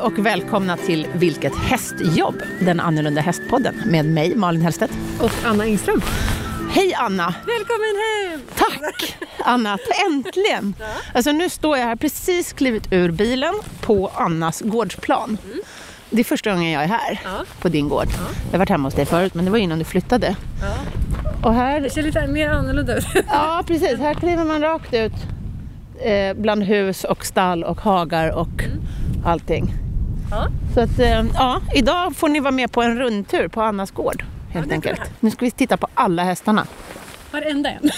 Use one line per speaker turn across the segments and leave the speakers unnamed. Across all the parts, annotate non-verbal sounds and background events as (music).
och välkomna till Vilket hästjobb? Den annorlunda hästpodden med mig, Malin Hellstedt.
Och Anna Engström.
Hej Anna!
Välkommen hem!
Tack Anna, äntligen! Alltså nu står jag här, precis klivit ur bilen på Annas gårdsplan. Det är första gången jag är här
Ja.
på din gård. Jag har varit hemma hos dig förut men det var innan du flyttade.
Ja.
Och här,
Det ser lite mer annorlunda ut. (laughs)
ja precis, här kliver man rakt ut eh, bland hus och stall och hagar och allting.
Ja.
Så att, eh, ja, idag får ni vara med på en rundtur på Annas gård helt
det är
enkelt.
bra.
Nu ska vi titta på alla hästarna.
Varenda en.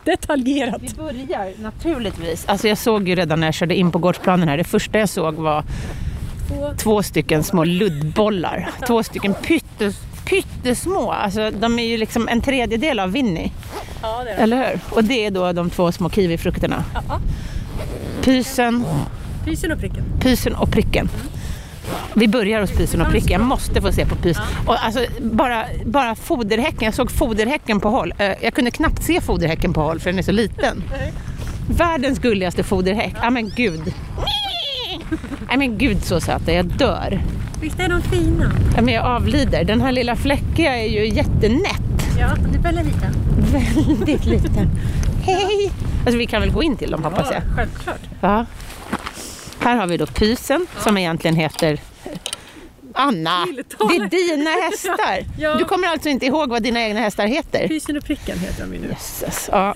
(laughs) Detaljerat.
Vi börjar naturligtvis. Alltså jag såg ju redan när jag körde in på gårdsplanen här, det första jag såg var
Två.
två stycken små luddbollar. Två stycken pyttes, pyttesmå, alltså de är ju liksom en tredjedel av Winnie,
Ja, det är
eller hur? Och det är då de två små kiwifrukterna.
Ja.
Pysen,
Fysen och pricken.
pysen och pricken. Vi börjar hos pysen och pricken, jag måste få se på pys. Och alltså, bara, bara foderhäcken, jag såg foderhäcken på håll. Eh, Jag kunde knappt se foderhäcken på håll för den är så (laughs) liten. Världens gulligaste foderhäck. Ja men gud. Nej men gud så söta, jag dör.
Visst är de fina?
Ja, men jag avlider. Den här lilla fläckiga är ju jättenätt.
Ja, det är väldigt lite.
Väldigt liten. (laughs) Hej! Alltså vi kan väl gå in till dem hoppas jag.
självklart.
Ja. Här har vi då pysen som egentligen heter eh, Anna,
Tilltal.
det är dina hästar.
(laughs) Ja.
Du kommer alltså inte ihåg vad dina egna hästar heter?
Fysen och pricken heter de ju nu.
Jösses, Ja.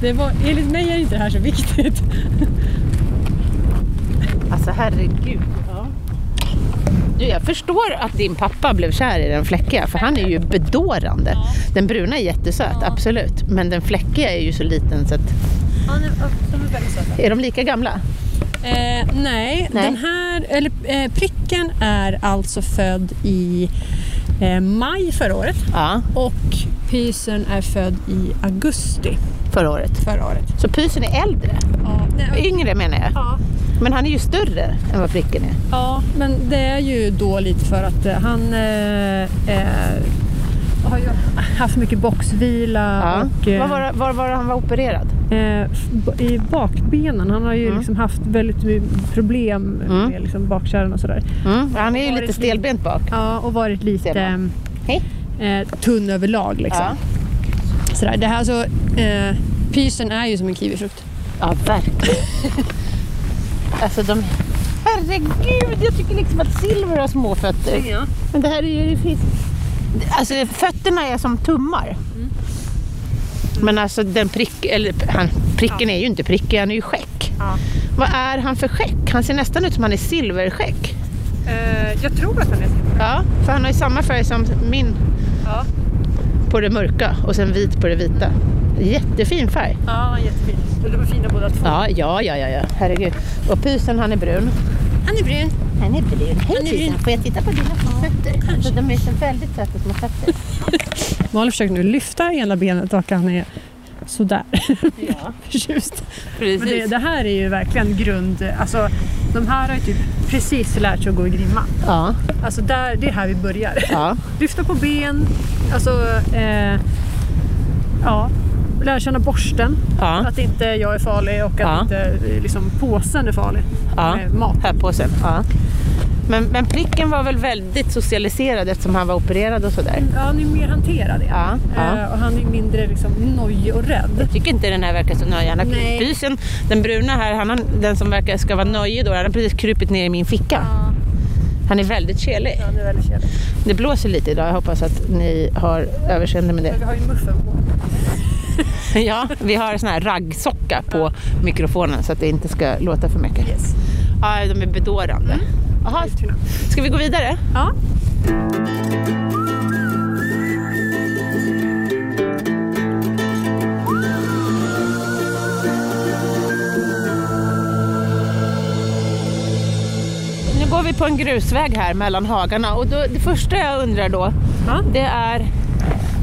Det var, enligt mig är inte det här så viktigt.
Alltså herregud.
Ja.
Du, jag förstår att din pappa blev kär i den fläckiga för han är ju bedårande. Den bruna är jättesöt, absolut. Men den fläckiga är ju så liten så att...
Ja, nu, ja, de är väldigt söta.
Är de lika gamla?
Eh,
Nej.
nej, den här, eller, eh, pricken är alltså född i eh, maj förra året
Ja,
och pysen är född i augusti
förra året.
förra året.
Så pysen är äldre?
Ja, nej,
Yngre menar jag.
ja,
Men han är ju större än vad pricken är.
ja, men det är ju då lite för att eh, han eh, eh, har ju haft mycket boxvila och eh,
Var, var, var var han var opererad?
eh, f- b- i bakbenen. Han har ju
Mm.
liksom haft väldigt mycket problem
Mm.
med liksom bakkärran och sådär.
Mm. Han är ju
Var
lite
det-
stelbent bak.
Ja, och varit
Ser
lite
man. Hej.
eh, tunn överlag. Liksom.
Ja.
Sådär. Det här så, eh, pysen är ju som en kiwifrukt.
Ja, verkligen. (laughs) alltså de... Herregud, jag tycker liksom att silver har små fötter. Men det här är ju fisk. Alltså fötterna är som tummar. Men alltså den prick, eller han, pricken är ju inte prickig, han är ju skäck.
Ja.
Vad är han för skäck? Han ser nästan ut som han är silverskäck.
jag tror att han är
Ja, för han har ju samma färg som min
Ja,
på det mörka och sen vit på det vita. Jättefin färg.
ja jättefin. De är fina båda två.
Ja, ja, ja, ja, ja. herregud. Och pysen han är brun.
Han är brun.
Han är brun. Hej
är brun.
pysen, får jag titta på dina fötter? Alltså, de är så väldigt söta små fötter.
Malin försöker nu lyfta ena benet och han är sådär (laughs)
Ja,
förtjust.
precis.
Men det, det här är ju verkligen grund... Alltså, de här har ju typ precis lärt sig att gå i grimma.
Ja,
Alltså där, det är här vi börjar. (laughs)
ja.
Lyfta på ben, alltså... Eh, ja, lära känna borsten.
ja.
Att inte jag är farlig och att
Ja.
inte eh, liksom, påsen är farlig.
Ja.
Med mat.
här på sen. Ja. Men, men pricken var väl väldigt socialiserad eftersom han var opererad och sådär.
Ja, han är ju mer hanterad. i det.
Ja, ja.
Eh, och han är mindre liksom, nojig och rädd.
Jag tycker inte den här verkar så nöjd. Han har-
Nej.
Pysen, den bruna här, han har, den som verkar ska vara nöjd då, han har precis krupit ner i min ficka. Han är väldigt kelig.
Han är väldigt kärlek.
Det blåser lite idag, jag hoppas att ni har överseende med det.
Vi har ju en muffen på.
(laughs) Ja, vi har sån här raggsocka på mikrofonen så att det inte ska låta för mycket.
Yes.
Ja, de är bedårande. Jaha, ska vi gå vidare?
Ja.
Nu går vi på en grusväg här mellan hagarna och då, det första jag undrar då,
ja.
det är,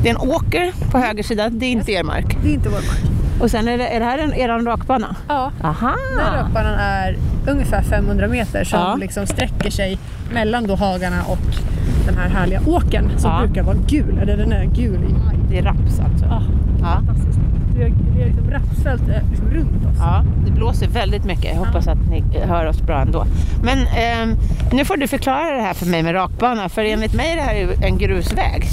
det är en åker på höger sida, det är inte er mark.
Det är inte vår mark.
Och sen är det, är det här en, eran rakbana?
Ja.
Aha!
Den här löpbanan är ungefär 500 meter som
Ja.
liksom sträcker sig mellan då hagarna och den här härliga åkern som
Ja.
brukar vara gul. Eller den är gul i maj.
Det är raps alltså.
Ja.
Ja.
Fantastiskt. vi har, vi har liksom rapsfält eh, liksom runt oss.
Ja, det blåser väldigt mycket. Jag hoppas att ni hör oss bra ändå. Men ehm, nu får du förklara det här för mig med rakbana, för
Mm.
enligt mig är det här ju en grusväg.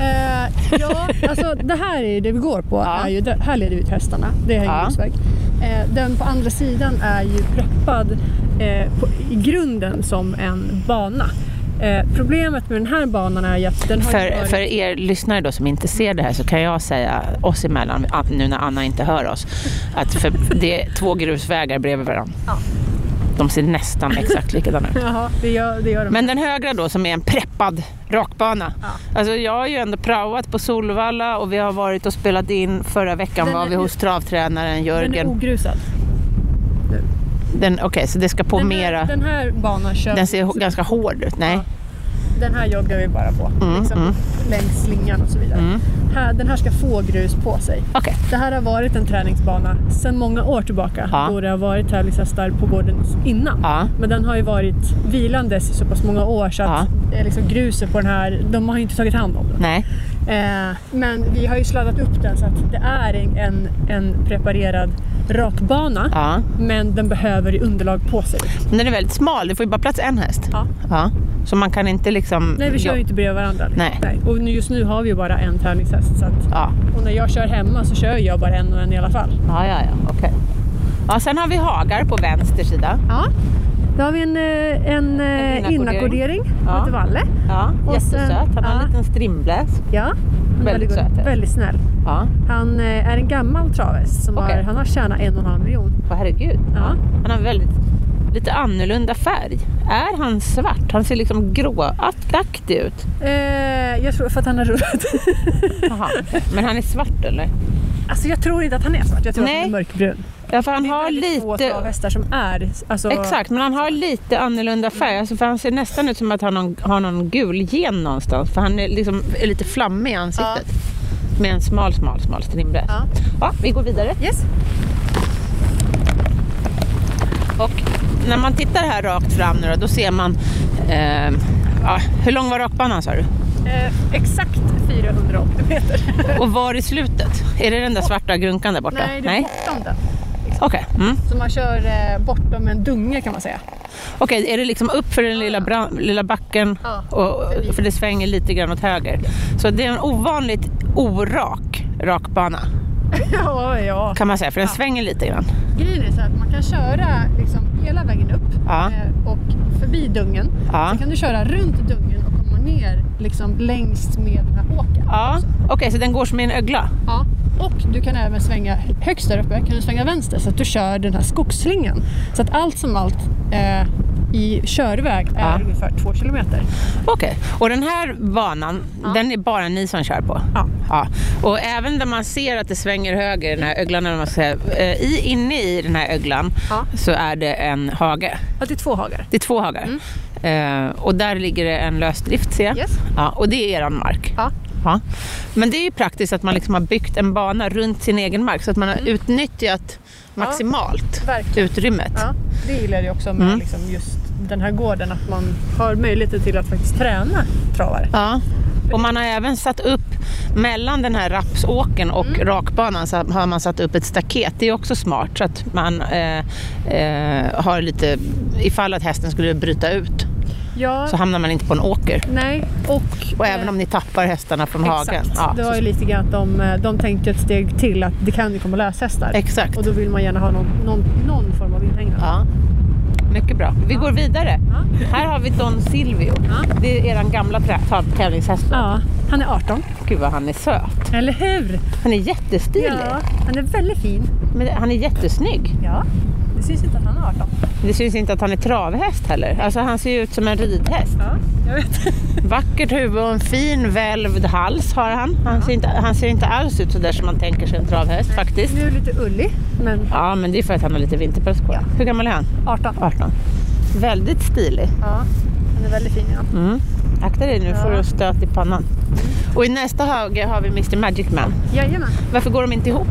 Eh, ja, alltså det här är ju det vi går på.
Ja.
Är ju, det- här leder vi till hästarna. Det här är
Ja.
ja. grusväg. Eh, den på andra sidan är ju preppad eh, på, i grunden som en bana. Eh, problemet med den här banan är ju att den har ju
För,
varit...
för er lyssnare då som inte ser det här så kan jag säga oss emellan, ah, nu när Anna inte hör oss, att för det är två grusvägar bredvid varandra.
Ja.
De ser nästan exakt likadana ut.
Jaha, det gör, det gör de.
Men den högra då som är en preppad rakbana.
Ja.
Alltså jag har ju ändå praoat på Solvalla och vi har varit och spelat in. Förra veckan
Den
var
är-
vi hos travtränaren
den är
Jörgen.
ogrusad.
Den, Okej, så det ska på
den,
mera.
Här, den här banan kör
Den ser ho- ganska hård ut. Nej.
Ja. Den här joggar vi bara på.
Mm,
liksom,
mm.
Längs slingan och så vidare.
Mm.
Här, den här ska få grus på sig.
Okej.
Det här har varit en träningsbana sedan många år tillbaka
Ja.
då det har varit tävlingshästar på gården innan.
Ja.
Men den har ju varit vilandes i så pass många år så att eh, liksom, gruset på den här, de har ju inte tagit hand om den.
Nej.
Eh, men vi har ju sladdat upp den så att det är en, en preparerad rakbana
Ja.
men den behöver ju underlag på sig.
Men den är väldigt smal. Det får ju bara plats en häst.
Ja.
Ja. Så man kan inte liksom...
Nej, vi kör ju
ja.
inte bredvid varandra. liksom.
Nej.
Och nu- just nu har vi ju bara en tävlingshäst. Så att,
Ja.
och när jag kör hemma så kör jag bara en och en i alla fall.
Ja, ja, ja. Okej. Ja, sen har vi hagar på vänster sida.
Ja. Då har vi en, eh, en, eh,
En inackordering.
inackordering.
Ja.
Han heter Valle.
Ja,
Och
jättesöt.
sen-
Han har
ja.
en liten strimbläs.
Ja. Han är
Väldigt
god-
söt.
väldigt snäll.
Ja.
Han eh, är en gammal travhäst. Som
Okej.
har, han har tjänat en och en halv miljon.
Åh, herregud.
Ja.
Han har väldigt lite annorlunda färg. Är han svart? Han ser liksom gråaktig ut.
Eh, jag tror för att han har rullat.
Jaha. Men han är svart eller?
(laughs) alltså jag tror inte att han är svart. Jag tror
Nej.
att han är mörkbrun.
Ja, för han
Det är
har
väldigt få
lite...
travhästar som är... Alltså,
Exakt, men han har lite annorlunda färg. Alltså, för han ser nästan ut som att han har- har någon gul gen någonstans. För han är, liksom, är lite flammig i ansiktet. Med en smal, smal, smal strimbräda.
Ja.
Ja, vi går vidare.
Yes.
Och när man tittar här rakt fram nu då, då ser man... Eh, ja, hur lång var rakbanan sa du?
Eh, exakt 480 meter.
Och var i slutet? Är det den där svarta grunkan där borta?
Nej, det är bortom den.
Okej. Mm.
Så man kör eh, bortom en dunge kan man säga.
Okej, är det liksom upp för den lilla, bra- lilla backen?
Ja.
Och, för det svänger lite grann åt höger. Så det är en ovanligt orak rakbana
(laughs) ja, ja.
kan man säga, för den svänger lite grann.
Grejen är så här att man kan köra liksom hela vägen upp
Ja.
eh, och förbi dungen.
Ja.
Sen kan du köra runt dungen och komma ner liksom längs med den här åkern.
Ja, okej, så den går som i en ögla.
Ja. Och du kan även svänga högst där uppe, kan du svänga vänster så att du kör den här skogsslingan. Så att allt som allt eh, i körväg är
Ja.
ungefär två kilometer.
Okej, och den här banan, den är bara ni som kör på?
Ja.
ja. Och även där man ser att det svänger höger, den här öglan, eller vad man ska säga, eh, i, inne i den här öglan
Ja.
så är det en hage.
Ja, det är två hagar.
Det är två hagar. Eh, och där ligger det en lösdrift ser jag.
Mm. Yes.
Ja, och det är eran mark.
Ja.
Ja. Men det är ju praktiskt att man liksom har byggt en bana runt sin egen mark så att man har
Mm.
utnyttjat maximalt
verkligen.
utrymmet.
Ja, det gillar jag också med
Mm.
liksom just den här gården, att man har möjlighet till att faktiskt träna travare.
Ja. Och man har även satt upp mellan den här rapsåken och
Mm.
rakbanan så har man satt upp ett staket. Det är också smart så att man eh, eh, har lite, ifall att hästen skulle bryta ut
Ja,
så hamnar man inte på en åker.
nej, och... eh,
Och även om ni tappar hästarna från hagen.
Exakt,
Ja,
det var
så-
ju lite grann att de, eh, de tänkte ett steg till att det kan ju komma löshästar.
Exakt.
Och då vill man gärna ha någon, någon, någon form av inhägnad.
Ja. Mycket bra. Vi går vidare.
Ja.
Här har vi Don Silvio.
Ja.
Det är eran gamla trä- tav- tävlingshäst. då.
Ja, han är 18.
Gud vad han är söt.
Eller hur?
Han är jättestilig.
Ja, han är väldigt fin.
Men han är jättesnygg.
Ja. Det syns inte att han är 18.
Det syns inte att han är travhäst heller. Alltså han ser ju ut som en ridhäst.
Ja, jag vet.
Vackert huvud och en fin välvd hals har han. Han, ser, inte, han ser inte alls ut sådär som man tänker sig en travhäst faktiskt.
Nu är lite ullig, men
Ja, men det är för att han har lite vinterpäls på. Hur gammal är han?
18.
18. Väldigt stilig.
Ja, han är väldigt fin ja.
Mm. Akta dig nu, får
Ja.
du stöt i pannan. Och i nästa hage har vi Mr Magic Man.
Jajamän.
Varför går de inte ihop?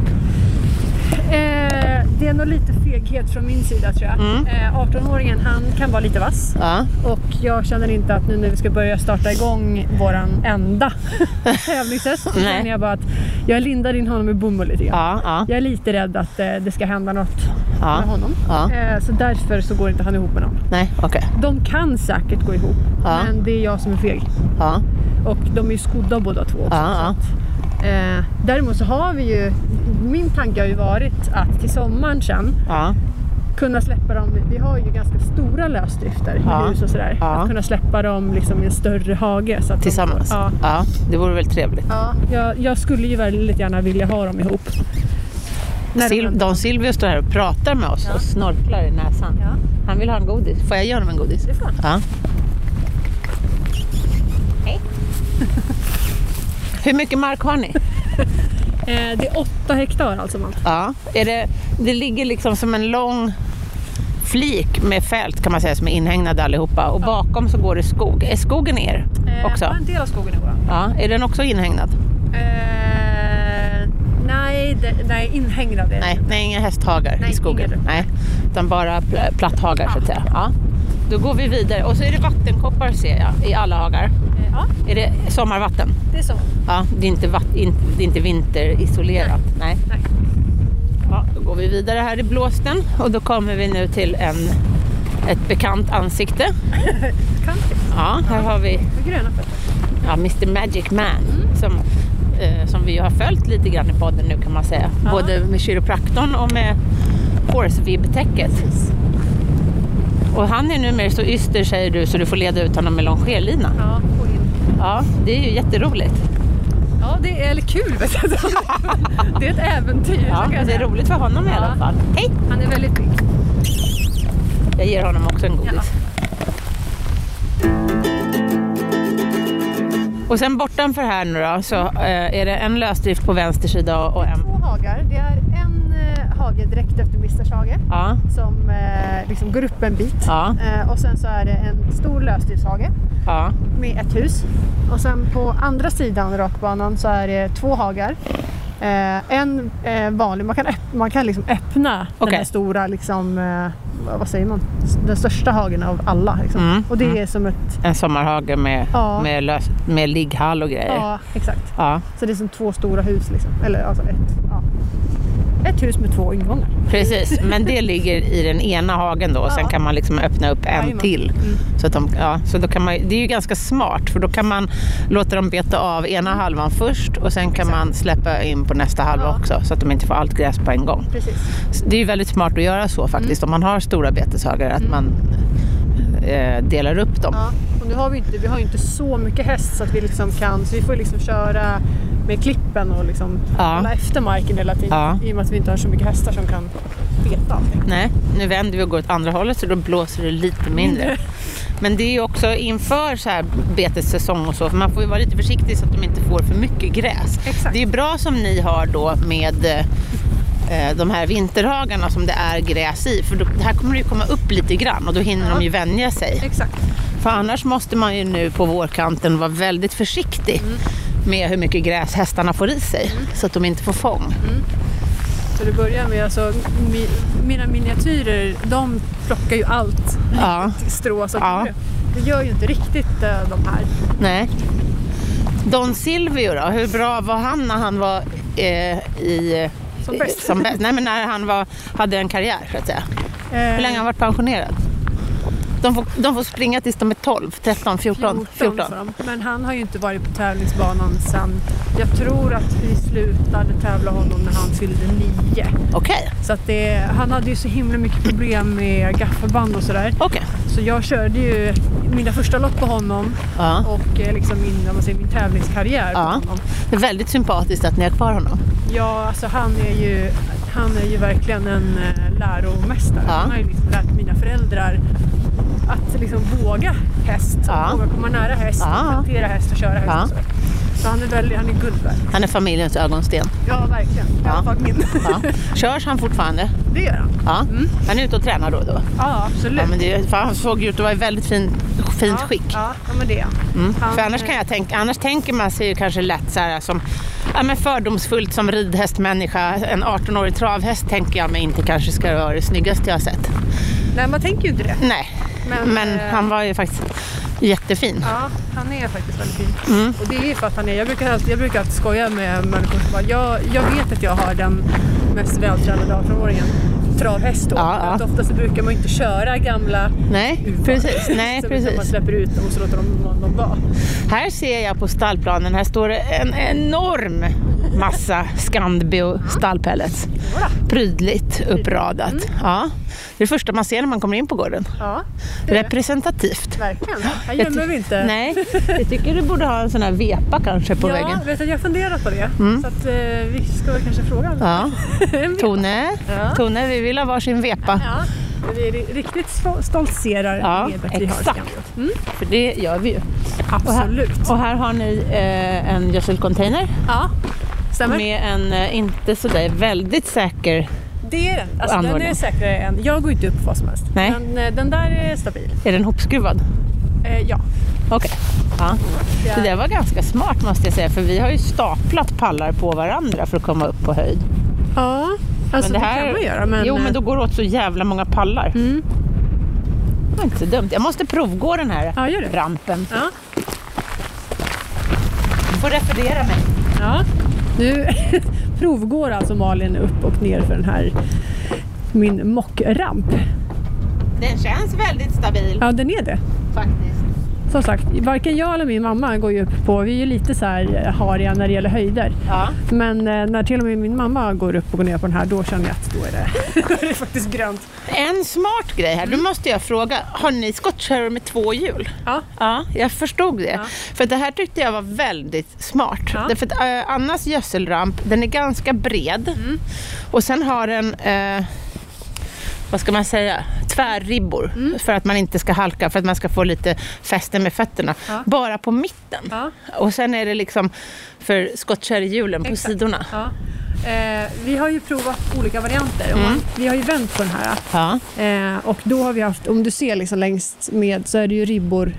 Eh, det är nog lite fel feghet från min sida tror jag.
Mm.
Eh, 18-åringen han kan vara lite vass.
Ja.
Och jag känner inte att nu när vi ska börja starta igång våran
(laughs)
enda tävlingshäst så
Nej.
känner jag bara att jag lindar in honom i bomull lite grann.
Ja, ja,
Jag är lite rädd att eh, det ska hända något
ja.
med honom.
Ja.
Eh, så därför så går inte han ihop med någon.
Nej, okej.
De kan säkert gå ihop,
Ja.
men det är jag som är feg.
Ja,
Och de är ju skodda båda två också.
ja,
Eh, däremot så har vi ju, min tanke har ju varit att till sommaren sen
ja.
kunna släppa dem, vi har ju ganska stora lösdrifter i
Ja.
hus och sådär.
Ja.
Att kunna släppa dem liksom i en större hage. Så att de
Tillsammans.
får-
Ja.
Ja.
det vore väl trevligt.
Ja, jag, jag skulle ju väldigt gärna vilja ha dem ihop. När
Sil-
de-
Don Silvio står här och pratar med oss och snorklar i näsan.
Ja.
Han vill ha en godis. Får jag ge honom en godis?
Det får han.
Ja. Hej. Hur mycket mark har ni?
Eh, det är åtta hektar alltså man.
Ja. Är det, det ligger liksom som en lång flik med fält kan man säga som är inhägnade allihopa och bakom så går det skog. Är skogen er också?
Ja, Eh, en del av skogen är vår.
Ja. Är den också inhägnad?
Eh, nej, det, nej, inhägnad är det.
Nej, nej inga hästhagar
Nej,
i skogen.
inga.
Nej, utan bara pl- platthagar så att
Ja.
säga. Ja. Då går vi vidare och så är det vattenkoppar ser jag i alla hagar.
Eh, ja,
Är det sommarvatten?
det är så.
Ja, det är inte, vatt- in- det är inte vinterisolerat. Nej.
Nej.
Ja, då går vi vidare här i blåsten och då kommer vi nu till en, ett bekant ansikte.
Country.
Ja, här har vi
Med gröna fötter.
ja, Mr Magic Man som, eh, som vi ju har följt lite grann i podden nu kan man säga.
Ja.
Både med kiropraktorn och med hårsvibbtäcket.
Precis.
Och han är numera så yster säger du så du får leda ut honom med longerlina.
Ja, och in.
Ja, det är ju jätteroligt.
Ja, det är eller kul vet jag (laughs) inte. Det är ett äventyr. så
Ja,
kan jag
det är
säga.
roligt för honom i
Ja.
alla fall. Hej!
Han är väldigt pigg.
Jag ger honom också en godis.
Ja.
Och sen bortanför här nu då så eh, är det en lösdrift på vänster sida och och en...
Två hagar. Det är en eh, hage direkt efter Misters hage
Ja,
som eh, liksom går upp en bit.
ja,
Eh, och sen så är det en stor lösdriftshage
ja,
med ett hus. Och sen på andra sidan rakbanan så är det två hagar. Eh, en eh, vanlig, man kan, öpp- man kan liksom öppna den
Okej.
här stora, liksom, eh, vad- vad säger man, S- den största hagen av alla. Liksom.
Mm,
Och det
mm.
är som ett,
en sommarhage med,
Ja.
med, lös, med ligghall och grejer.
ja exakt.
Ja,
Så det är som två stora hus liksom. Eller alltså ett, ja. ett hus med två ingångar.
precis. Men det ligger i den ena hagen då och sen
Ja.
kan man liksom öppna upp en
Jajamän.
till.
Mm.
Så, att de, ja, så då kan man, det är ju ganska smart för då kan man låta dem beta av ena halvan först och sen kan man släppa in på nästa halva
Mm. Ja.
också så att de inte får allt gräs på en gång.
Precis.
Så Det är ju väldigt smart att göra så faktiskt
Mm.
om man har stora beteshagar att man eh, delar upp dem.
Ja. Och nu har vi, inte, vi har ju inte så mycket häst så att vi liksom kan, så vi får liksom köra med klippen och liksom
Ja.
hålla efter marken hela tiden.
Ja.
I och med att vi inte har så mycket hästar som kan veta allting.
Nej, nu vänder vi och går åt andra hållet så då blåser det lite mindre.
Mm.
Men det är ju också inför så här betessäsong och så, för man får ju vara lite försiktig så att de inte får för mycket gräs.
Exakt.
Det är bra som ni har då med eh, de här vinterhagarna som det är gräs i, för då, här kommer det ju komma upp lite grann och då hinner
Ja.
de ju vänja sig.
Exakt.
För annars måste man ju nu på vårkanten vara väldigt försiktig
Mm.
med hur mycket gräs hästarna får i sig, så att de inte får fång.
Så det börjar med alltså, mi, mina miniatyrer, de plockar ju allt
Ja.
strå som
Ja.
kommer upp. Det gör ju inte riktigt eh, de här.
Nej. Don Silvio då, hur bra var han när han var eh, i...
Som bäst.
som bäst? Nej men när han var, hade en karriär så att säga.
Eh,
Hur länge har han varit pensionerad? De får, de får springa tills de är 12, 13, 14, 14.
för dem. Men han har ju inte varit på tävlingsbanan sen, jag tror att vi slutade tävla honom när han fyllde nio.
Okej,
Så att det, han hade ju så himla mycket problem med gaffelband och sådär.
okej.
Så jag körde ju mina första lopp på honom
Ja.
och eh, liksom min, om man säger, min tävlingskarriär på
Ja.
honom.
Det är väldigt sympatiskt att ni har kvar honom.
Ja, alltså han är ju, han är ju verkligen en eh, läromästare.
Ja.
Han har ju liksom lärt mina föräldrar att liksom våga häst, och
Ja.
våga komma nära häst,
Ja.
och hantera häst och köra häst.
Ja.
Och så. så han är, väldigt, han är guld värd.
Han är familjens ögonsten.
Ja, verkligen. I
Ja.
alla fall min.
Ja. Körs han fortfarande?
(laughs) Det gör han.
Ja. Han är ute och tränar då och då.
Ja, absolut.
Ja, men det, för han såg ju ut att vara i väldigt fin, fint
Ja,
skick.
Ja, ja men det är han.
Mm.
Han-
För annars, kan jag tänka, annars tänker man sig ju kanske lätt så här som ja, men fördomsfullt som ridhästmänniska. En 18-årig travhäst tänker jag mig inte kanske ska vara det snyggaste jag har sett.
Nej, man tänker ju inte det.
Nej,
Men,
men
eh,
han var ju faktiskt jättefin.
Ja, han är faktiskt väldigt fin.
Mm.
Och det är för att han är, jag brukar alltid, jag brukar alltid skoja med människor som bara, jag, jag vet att jag har den mest vältränade 18-åringen. Travhäst då.
Ja, ja.
För att Ofta så brukar man ju inte köra gamla
Nej,
uvar.
precis.
(laughs)
Nej,
så utan Man
precis.
släpper ut dem och så låter de dem vara.
Här ser jag på stallplanen, här står det en enorm massa Scandbio stallpellets.
Jodå.
Prydligt uppradat.
Mm.
Ja. Det är det första man ser när man kommer in på gården.
Ja, det är det.
Representativt.
Verkligen. Här
Jag ty-
gömmer vi inte.
Nej, jag tycker du borde ha en sån här vepa kanske på
ja,
väggen.
Vet att jag har funderat på det. Så att, eh, vi ska väl kanske fråga honom.
Ja.
(laughs)
Tone,
Ja.
Tone, vi vill ha varsin vepa.
Ja, men vi är riktigt stol- stoltserar
Ja,
med att vi har
exakt.
Scandiot. Mm,
För det gör vi ju. Och här,
absolut.
och här har ni eh, en gödselcontainer
Ja, stämmer.
med en eh, inte sådär väldigt säker...
Det är den. Alltså, den
anordning.
är säkrare än... Jag går inte upp vad som helst.
Nej.
Men eh, den där är stabil.
Är den hopskruvad?
Eh, ja.
Okej. Ja.
Det är-
Det där var ganska smart måste jag säga för vi har ju staplat pallar på varandra för att komma upp på höjd.
Ja, alltså det, kan man göra. Men,
jo men då
eh,
går det åt så jävla många pallar.
Mm.
Det var inte så dumt. Jag måste provgå den här
Ja, gör det.
rampen.
Ja.
Du får referera mig.
ja. Nu (laughs) provgår alltså Malin upp och ner för den här min mockramp.
Den känns väldigt stabil
Ja, den är det.
faktiskt.
Som sagt, varken jag eller min mamma går ju upp på... Vi är ju lite så här eh, hariga när det gäller höjder.
Ja.
Men eh, när till och med min mamma går upp och går ner på den här, då känner jag att då är det, (laughs) då är det faktiskt grönt.
En smart grej här, nu
Mm.
måste jag fråga. Har ni skottkärror med två hjul?
Ja,
Ja, jag förstod det.
Ja.
För det här tyckte jag var väldigt smart.
Ja.
Därför att eh, Annas gödselramp, den är ganska bred.
Mm.
Och sen har den, eh, vad ska man säga, tvärribbor.
Mm.
För att man inte ska halka, för att man ska få lite fäste med fötterna.
Ja.
Bara på mitten.
ja,
Och sen är det liksom för skottkärrehjulen på
Exakt.
sidorna.
ja. Eh, vi har ju provat olika varianter. Och
Mm.
man, vi har ju vänt på den här.
Ja.
Eh, och då har vi haft, om du ser liksom längst med så är det ju ribbor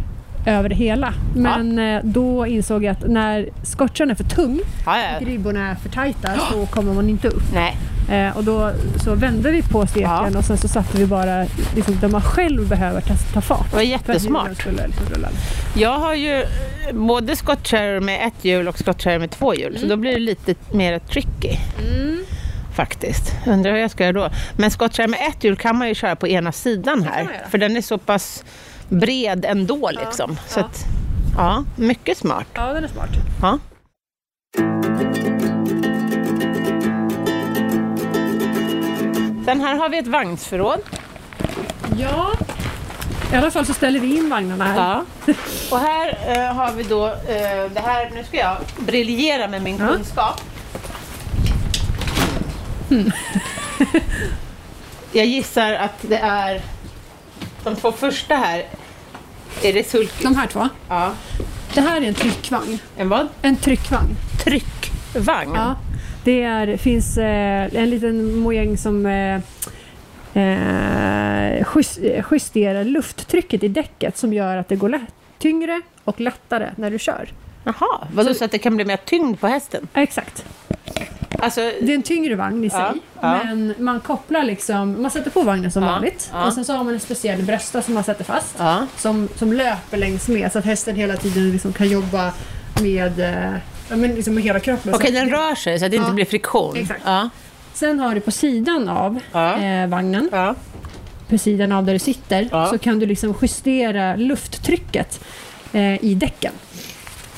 över det hela. Men eh, då insåg jag att när skottkärran är för tung
Ja, ja.
och ribborna är för tajta så kommer man inte upp.
Nej.
Eh, och då så vände vi på steken
Ja.
och sen så satte vi bara liksom, där man själv behöver ta, ta fart.
Det var
För att hjulen
jättesmart.
skulle liksom rulla.
Jag har ju eh, både skottkärror med ett hjul och skottkärror med två hjul,
Mm.
så då blir det lite mer tricky Mm. faktiskt. Undrar hur jag ska göra då. Men skottkärra med ett hjul kan man ju köra på ena sidan
kan man
här,
göra.
för den är så pass bred ändå
Ja,
liksom. Så
ja.
att, ja, mycket smart.
Ja, den är smart.
Ja. Sen här har vi ett vagnsförråd.
Ja. I alla fall så ställer vi in vagnarna här.
Ja. Och här eh, har vi då, eh, det här, nu ska jag briljera med min
Ja.
kunskap. Hmm. jag gissar att det är de två första här. Är det sulky?
De här två.
Ja.
Det här är en tryckvagn.
En vad?
En tryckvagn.
Tryckvagn.
Ja. Det är, finns eh, en liten mojäng som eh, eh, just- justerar lufttrycket i däcket som gör att det går lätt, tyngre och lättare när du kör.
Jaha, vadå så att det kan bli mer tyngd på hästen?
Ja, Exakt.
Alltså,
Det är en tyngre vagn i sig.
Ja, ja.
Men man kopplar liksom, man sätter på vagnen som
Ja,
vanligt.
ja.
Och sen så har man en speciell brösta som man sätter fast.
ja.
som, som löper längs med så att hästen hela tiden liksom kan jobba med, eh, ja, men liksom med hela kroppen.
Okej,
Så-
den rör sig så att det inte
Ja.
blir friktion.
Exakt.
Ja.
Sen har du på sidan av
Ja.
eh, vagnen,
Ja.
på sidan av där du sitter,
Ja.
så kan du liksom justera lufttrycket eh, i däcken.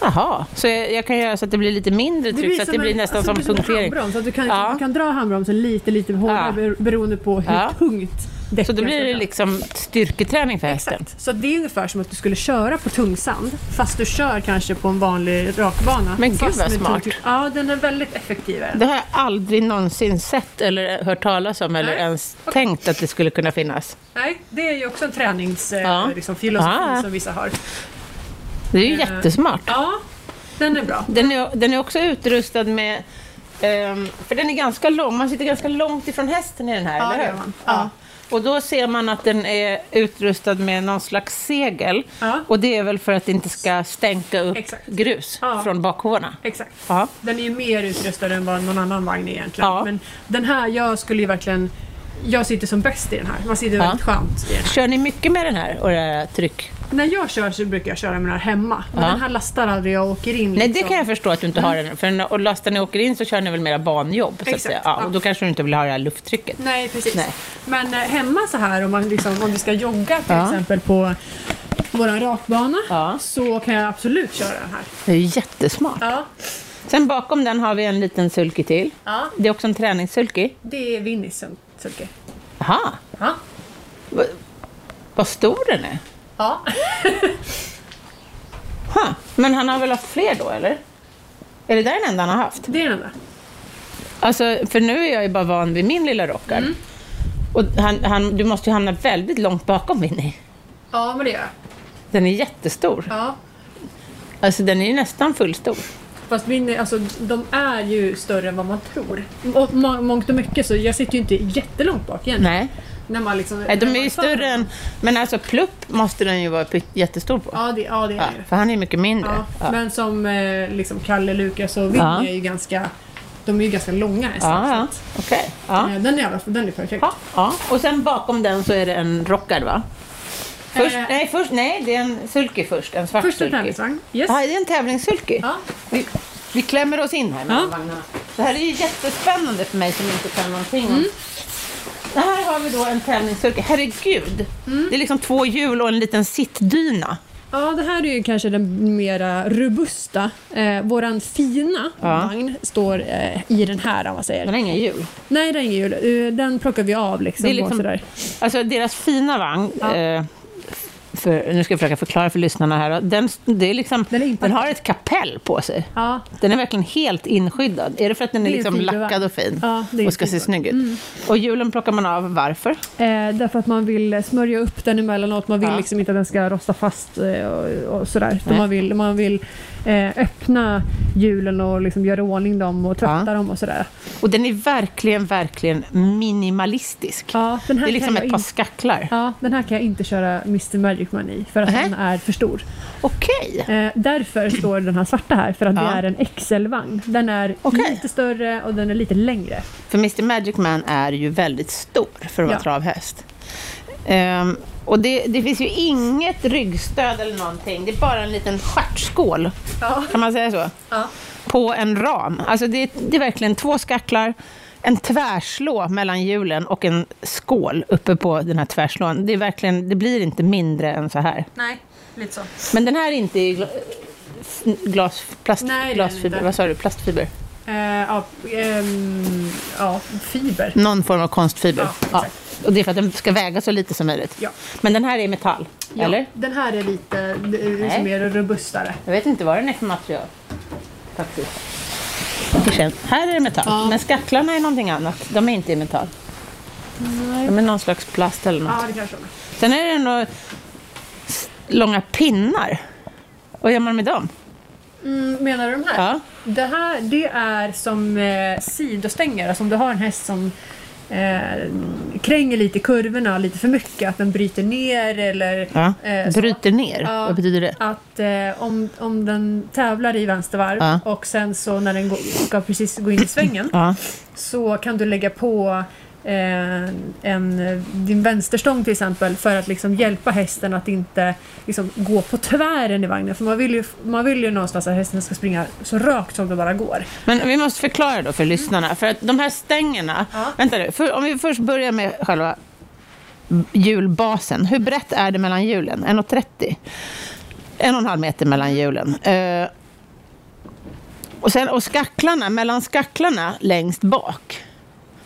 Jaha, så jag, jag kan göra så att det blir lite mindre tryck, så att det blir nästan
alltså, det
som
blir en
punktering.
handbroms, så att du kan,
Ja.
du kan dra handbromsen lite, lite hårdare
Ja.
bero- beroende på hur
Ja.
tungt
(laughs) Så då blir det liksom styrketräning för hästen.
Exakt. Så det är ungefär som att du skulle köra på tungsand fast du kör kanske på en vanlig rakbana.
Men gud,
fast
vad
med
smart.
tungtryck. Ja, den är väldigt effektiv. är den.
Det har jag aldrig någonsin sett eller hört talas om eller
Nej.
ens tänkt att det skulle kunna finnas.
Nej, det är ju också en träningsfilosofi
Ja.
liksom, filosofi
Ja.
som vissa har.
Det är ju
Eh.
jättesmart.
Ja, den är bra.
Den är, den är också utrustad med... ehm, för den är ganska lång, man sitter ganska långt ifrån hästen i den här,
Ja,
eller hur?
det gör man.
Ja.
Ja.
Och då ser man att den är utrustad med någon slags segel.
Ja.
Och det är väl för att det inte ska stänka upp
Exakt.
grus
Ja.
från bakhovarna.
Exakt.
Ja.
Den är ju mer utrustad än vad någon annan vagn är egentligen.
Ja.
Men den här, jag skulle ju verkligen... Jag sitter som bäst i den här. Man sitter
Ja.
väldigt skönt i den.
Kör ni mycket med den här och det här tryck?
När jag kör så brukar jag köra med den här hemma. Men
Ja.
den här lastar aldrig jag åker in.
Nej, det
liksom.
kan jag förstå att du inte har den. För när- och lastar ni åker in så kör ni väl mera banjobb? Så att
Exakt,
säga. Ja,
ja.
och då kanske du inte vill ha det här lufttrycket.
Nej, precis.
Nej.
Men eh, hemma så här, om, man liksom, om vi ska jogga till
Ja.
exempel på vår rakbana
Ja.
så kan jag absolut köra den här.
Det är ju jättesmart.
Ja.
Sen bakom den har vi en liten sulky till.
ja.
Det är också en träningssulky.
Det är Vinnies sulke.
Aha,
Ja.
Va- vad stor den är.
ja.
Huh. Men han har väl haft fler då, eller? Är det där den enda han har haft?
Det är den där.
Alltså, för nu är jag ju bara van vid min lilla rockar. Och han, han, du måste ju hamna väldigt långt bakom Winnie.
Ja, men det gör jag.
Den är jättestor.
Ja.
Alltså, den är ju nästan fullstor.
Fast Winnie, alltså, de är ju större än vad man tror. Och må- mångt och mycket, så jag sitter ju inte jättelångt bak egentligen.
Nej.
När man liksom,
Nej, de
när
är ju
man-
större än... Men alltså plupp måste den ju vara pytt- jättestor på.
Ja, det, ja, det är
Ja,
det ju.
för han är ju mycket mindre.
Ja,
Ja.
Men som eh, liksom Kalle, Lukas och Vinny
Ja.
är ju ganska... De är ju ganska långa hästar.
Ja,
så
ja.
att,
Okej. Ja.
eh, Den är, i alla fall- den är perfekt.
Ja, ja. Och sen bakom den så är det en rockad va? Först,
Eh.
nej, först, nej, det är en sulky först. En svart
Första
sulky.
tävlingsvagn. Yes.
Ja, det är en tävlingssulky.
Ja.
Vi, vi klämmer oss in här mellan
Ja.
vagnarna. Det här är ju jättespännande för mig som inte kan någonting.
Mm.
om- Det här har vi då en tävlingssulky. Herregud!
Mm.
Det är liksom två hjul och en liten sittdyna.
ja, det här är ju kanske den mera robusta. Eh, våran fina
Ja.
vagn står eh, i den här om man säger.
Den har inga hjul.
Nej, den är ingen jul. Eh, Den plockar vi av liksom.
Det är liksom-
och sådär.
Alltså deras fina vagn,
Ja.
eh, för, nu ska jag försöka förklara för lyssnarna här. Den, det är liksom,
Den är
den
inpackad.
har ett kapell på sig.
Ja,
Den är verkligen helt inskyddad. Är det för att den är,
Det är
liksom
en fibervagn.
lackad och fin
Ja, det är
och ska
en Mm.
se
fibervagn.
snygg ut? Och hjulen plockar man av, varför?
eh, därför att man vill eh, smörja upp den emellanåt. Man vill
Ja.
liksom inte att den ska rosta fast eh, och, och sådär. Utan
Nej.
Man vill, man vill eh, öppna hjulen och liksom göra ordning dem och tvätta
Ja.
dem och sådär.
Och den är verkligen, verkligen minimalistisk.
Ja, den här
det är liksom
kan jag
ett par
in-
skacklar.
Ja, den här kan jag inte köra Mr Magic Man i för att
Nej.
den är för stor.
Okej.
Eh, därför står den här svarta här, för att
Ja.
det är en XL-vagn. Den är
Okej.
lite större och den är lite längre.
För Mr Magic Man är ju väldigt stor för att vara
Ja.
travhäst. Ehm, och det, det finns ju inget ryggstöd eller någonting. Det är bara en liten stjärtskål,
Ja.
kan man säga så?
Ja.
På en ram. Alltså det, det är verkligen två skacklar, en tvärslå mellan hjulen och en skål uppe på den här tvärslån. Det, är verkligen, det blir inte mindre än så här.
Nej, lite så.
Men den här är inte i gla- f- glas, plast,
Nej, det är den
glasfiber,
inte.
vad sa du, plastfiber?
Eh, ja, ehm, ja, fiber.
Någon form av konstfiber.
Ja,
Ja,
exakt.
Och det är för att den ska väga så lite som möjligt.
Ja.
Men den här är i metall,
Ja,
eller?
Den här är lite eh,
Nej.
liksom mer robustare.
Jag vet inte vad den är för material. Faktiskt. Det känns- Här är det metall,
Ja.
men skacklarna är någonting annat. De är inte i metall. De är någon slags plast eller något.
Ja, det kanske de är.
Sen är det några s- långa pinnar. Vad gör man med dem?
Mm, menar du de här?
Ja.
Det här det är som eh, sidostänger, alltså om du har en häst som eh, kränger lite i kurvorna lite för mycket, att den bryter ner eller
ja.
eh, så.
Bryter ner,
Ja.
vad betyder det?
Att eh, om, om den tävlar i vänstervarv
Ja.
och sen så när den går, ska precis gå in i svängen
Ja.
så kan du lägga på eh, en, din vänsterstång till exempel för att liksom hjälpa hästen att inte liksom gå på tvären i vagnen. För man vill ju, man vill ju någonstans att hästen ska springa så rakt som det bara går.
Men vi måste förklara då för lyssnarna, för att de här stängerna...
Ja.
Vänta nu, för, om vi först börjar med själva hjulbasen. Hur brett är det mellan hjulen? 1,30? En och en halv meter mellan hjulen. Eh, och, sen, och skacklarna, mellan skacklarna längst bak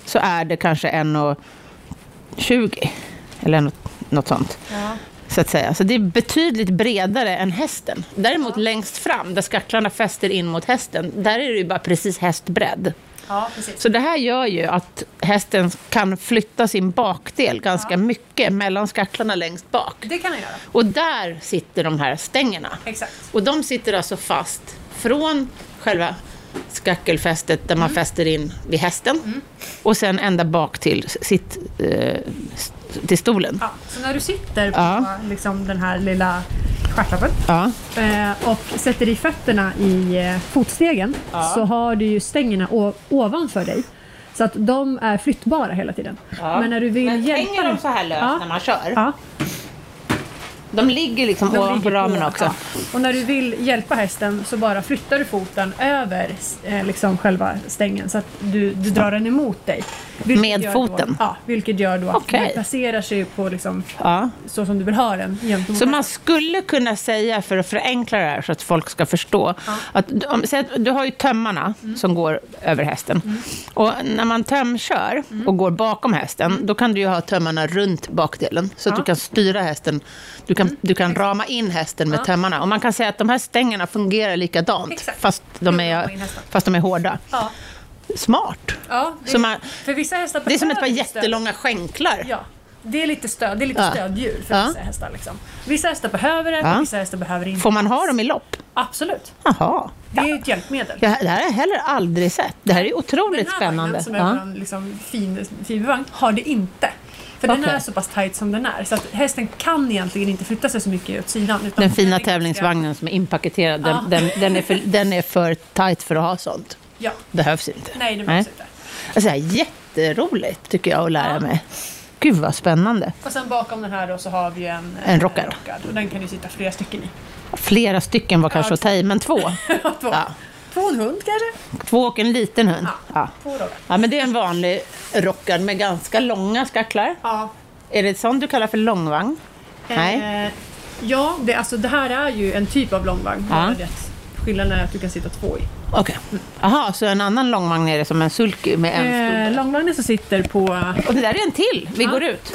så är det kanske 1,20. Eller något, något sånt.
Ja.
Så att säga. Så det är betydligt bredare än hästen. Däremot längst fram, där skaklarna fäster in mot hästen, där är det ju bara precis hästbredd.
ja, precis.
Så det här gör ju att hästen kan flytta sin bakdel ganska mycket mellan skaklarna längst bak.
Det kan jag göra.
Och där sitter de här stängerna.
Exakt.
Och de sitter alltså fast från själva skackelfästet där man fäster in vid hästen och sen ända bak till, s- sitt, eh, s- till stolen.
Ja, så när du sitter på
Ja.
liksom, den här lilla stjärtlappen
Ja.
eh, och sätter i fötterna i eh, fotstegen så har du ju stängerna o- ovanför dig. Så att de är flyttbara hela tiden. Men när du vill
Men
hjälpa
hänger de
den-
så här löst
Ja.
när man kör?
Ja,
De ligger liksom
de
ovanpå
ligger
ramen
på.
också.
Ja. Och när du vill hjälpa hästen så bara flyttar du foten över eh, liksom själva stängen så att du, du drar den emot dig. Vilket
Med
gör
foten?
Då, ja, vilket gör då att
Okej.
den placerar sig på liksom,
Ja.
så som du vill ha den. gentemot
Så man
hästen.
skulle kunna säga, för att förenkla det här så att folk ska förstå, att du- om, säg att du har ju tömmarna
Mm.
som går över hästen. Och när man tömkör
Mm.
och går bakom hästen, då kan du ju ha tömmarna runt bakdelen, så att
Ja. Mm.
du kan styra hästen. Du kan, du kan rama in hästen med tömmarna. Och man kan säga att de här stängerna fungerar likadant,
Exakt.
fast de,
Hur ramar
är,
in hästen?
fast de är hårda.
Ja.
Smart!
Ja, det,
Så man-
För vissa hästar
Det är som ett par
behöver stöd.
jättelånga skänklar.
Ja, det är lite, stöd, det är lite
Ja.
stöddjur för
Ja.
vissa hästar. Liksom. Vissa hästar behöver det,
Ja.
vissa hästar behöver inte.
Får man ha dem i lopp?
Absolut,
Jaha.
det är ett hjälpmedel.
Det här det här har jag heller aldrig sett. Det här är
Den
otroligt
här
spännande.
vagnen som är
Ja.
vår liksom, fin, fin vagn har det inte. För den
Okej.
är så pass tight som den är så att hästen kan egentligen inte flytta sig så mycket åt sidan. Utan
Den fina
är ganska-
tävlingsvagnen som är inpaketerad, den,
Ja.
den, den, är
(laughs)
för, den är för tight för att ha sånt.
Ja,
Behövs inte.
nej den behövs inte.
Alltså, det här är jätteroligt tycker jag att lära
Ja.
mig. Gud vad spännande.
Och sen bakom den här då så har vi en, eh,
En rockad.
och den kan du sitta flera stycken i. (laughs)
Flera stycken var kanske
Ja.
att ta i, men två.
Två,
Ja.
två och en hund kanske?
Två och en liten hund. Ja.
Två rockar.
Ja, men det är en vanlig rockad med ganska långa skaklar.
Ja,
Är det sånt du kallar för långvagn? Nej.
Eh, ja, det, alltså, det här är ju en typ av långvagn.
Ja.
bara det att Skillnaden är att du kan sitta två i.
Okej. Jaha, så en annan långvagn är det som en sulky med en
Eh,
stor...
långvagnen som sitter på...
Och det där är en till. Vi
Ja.
går ut.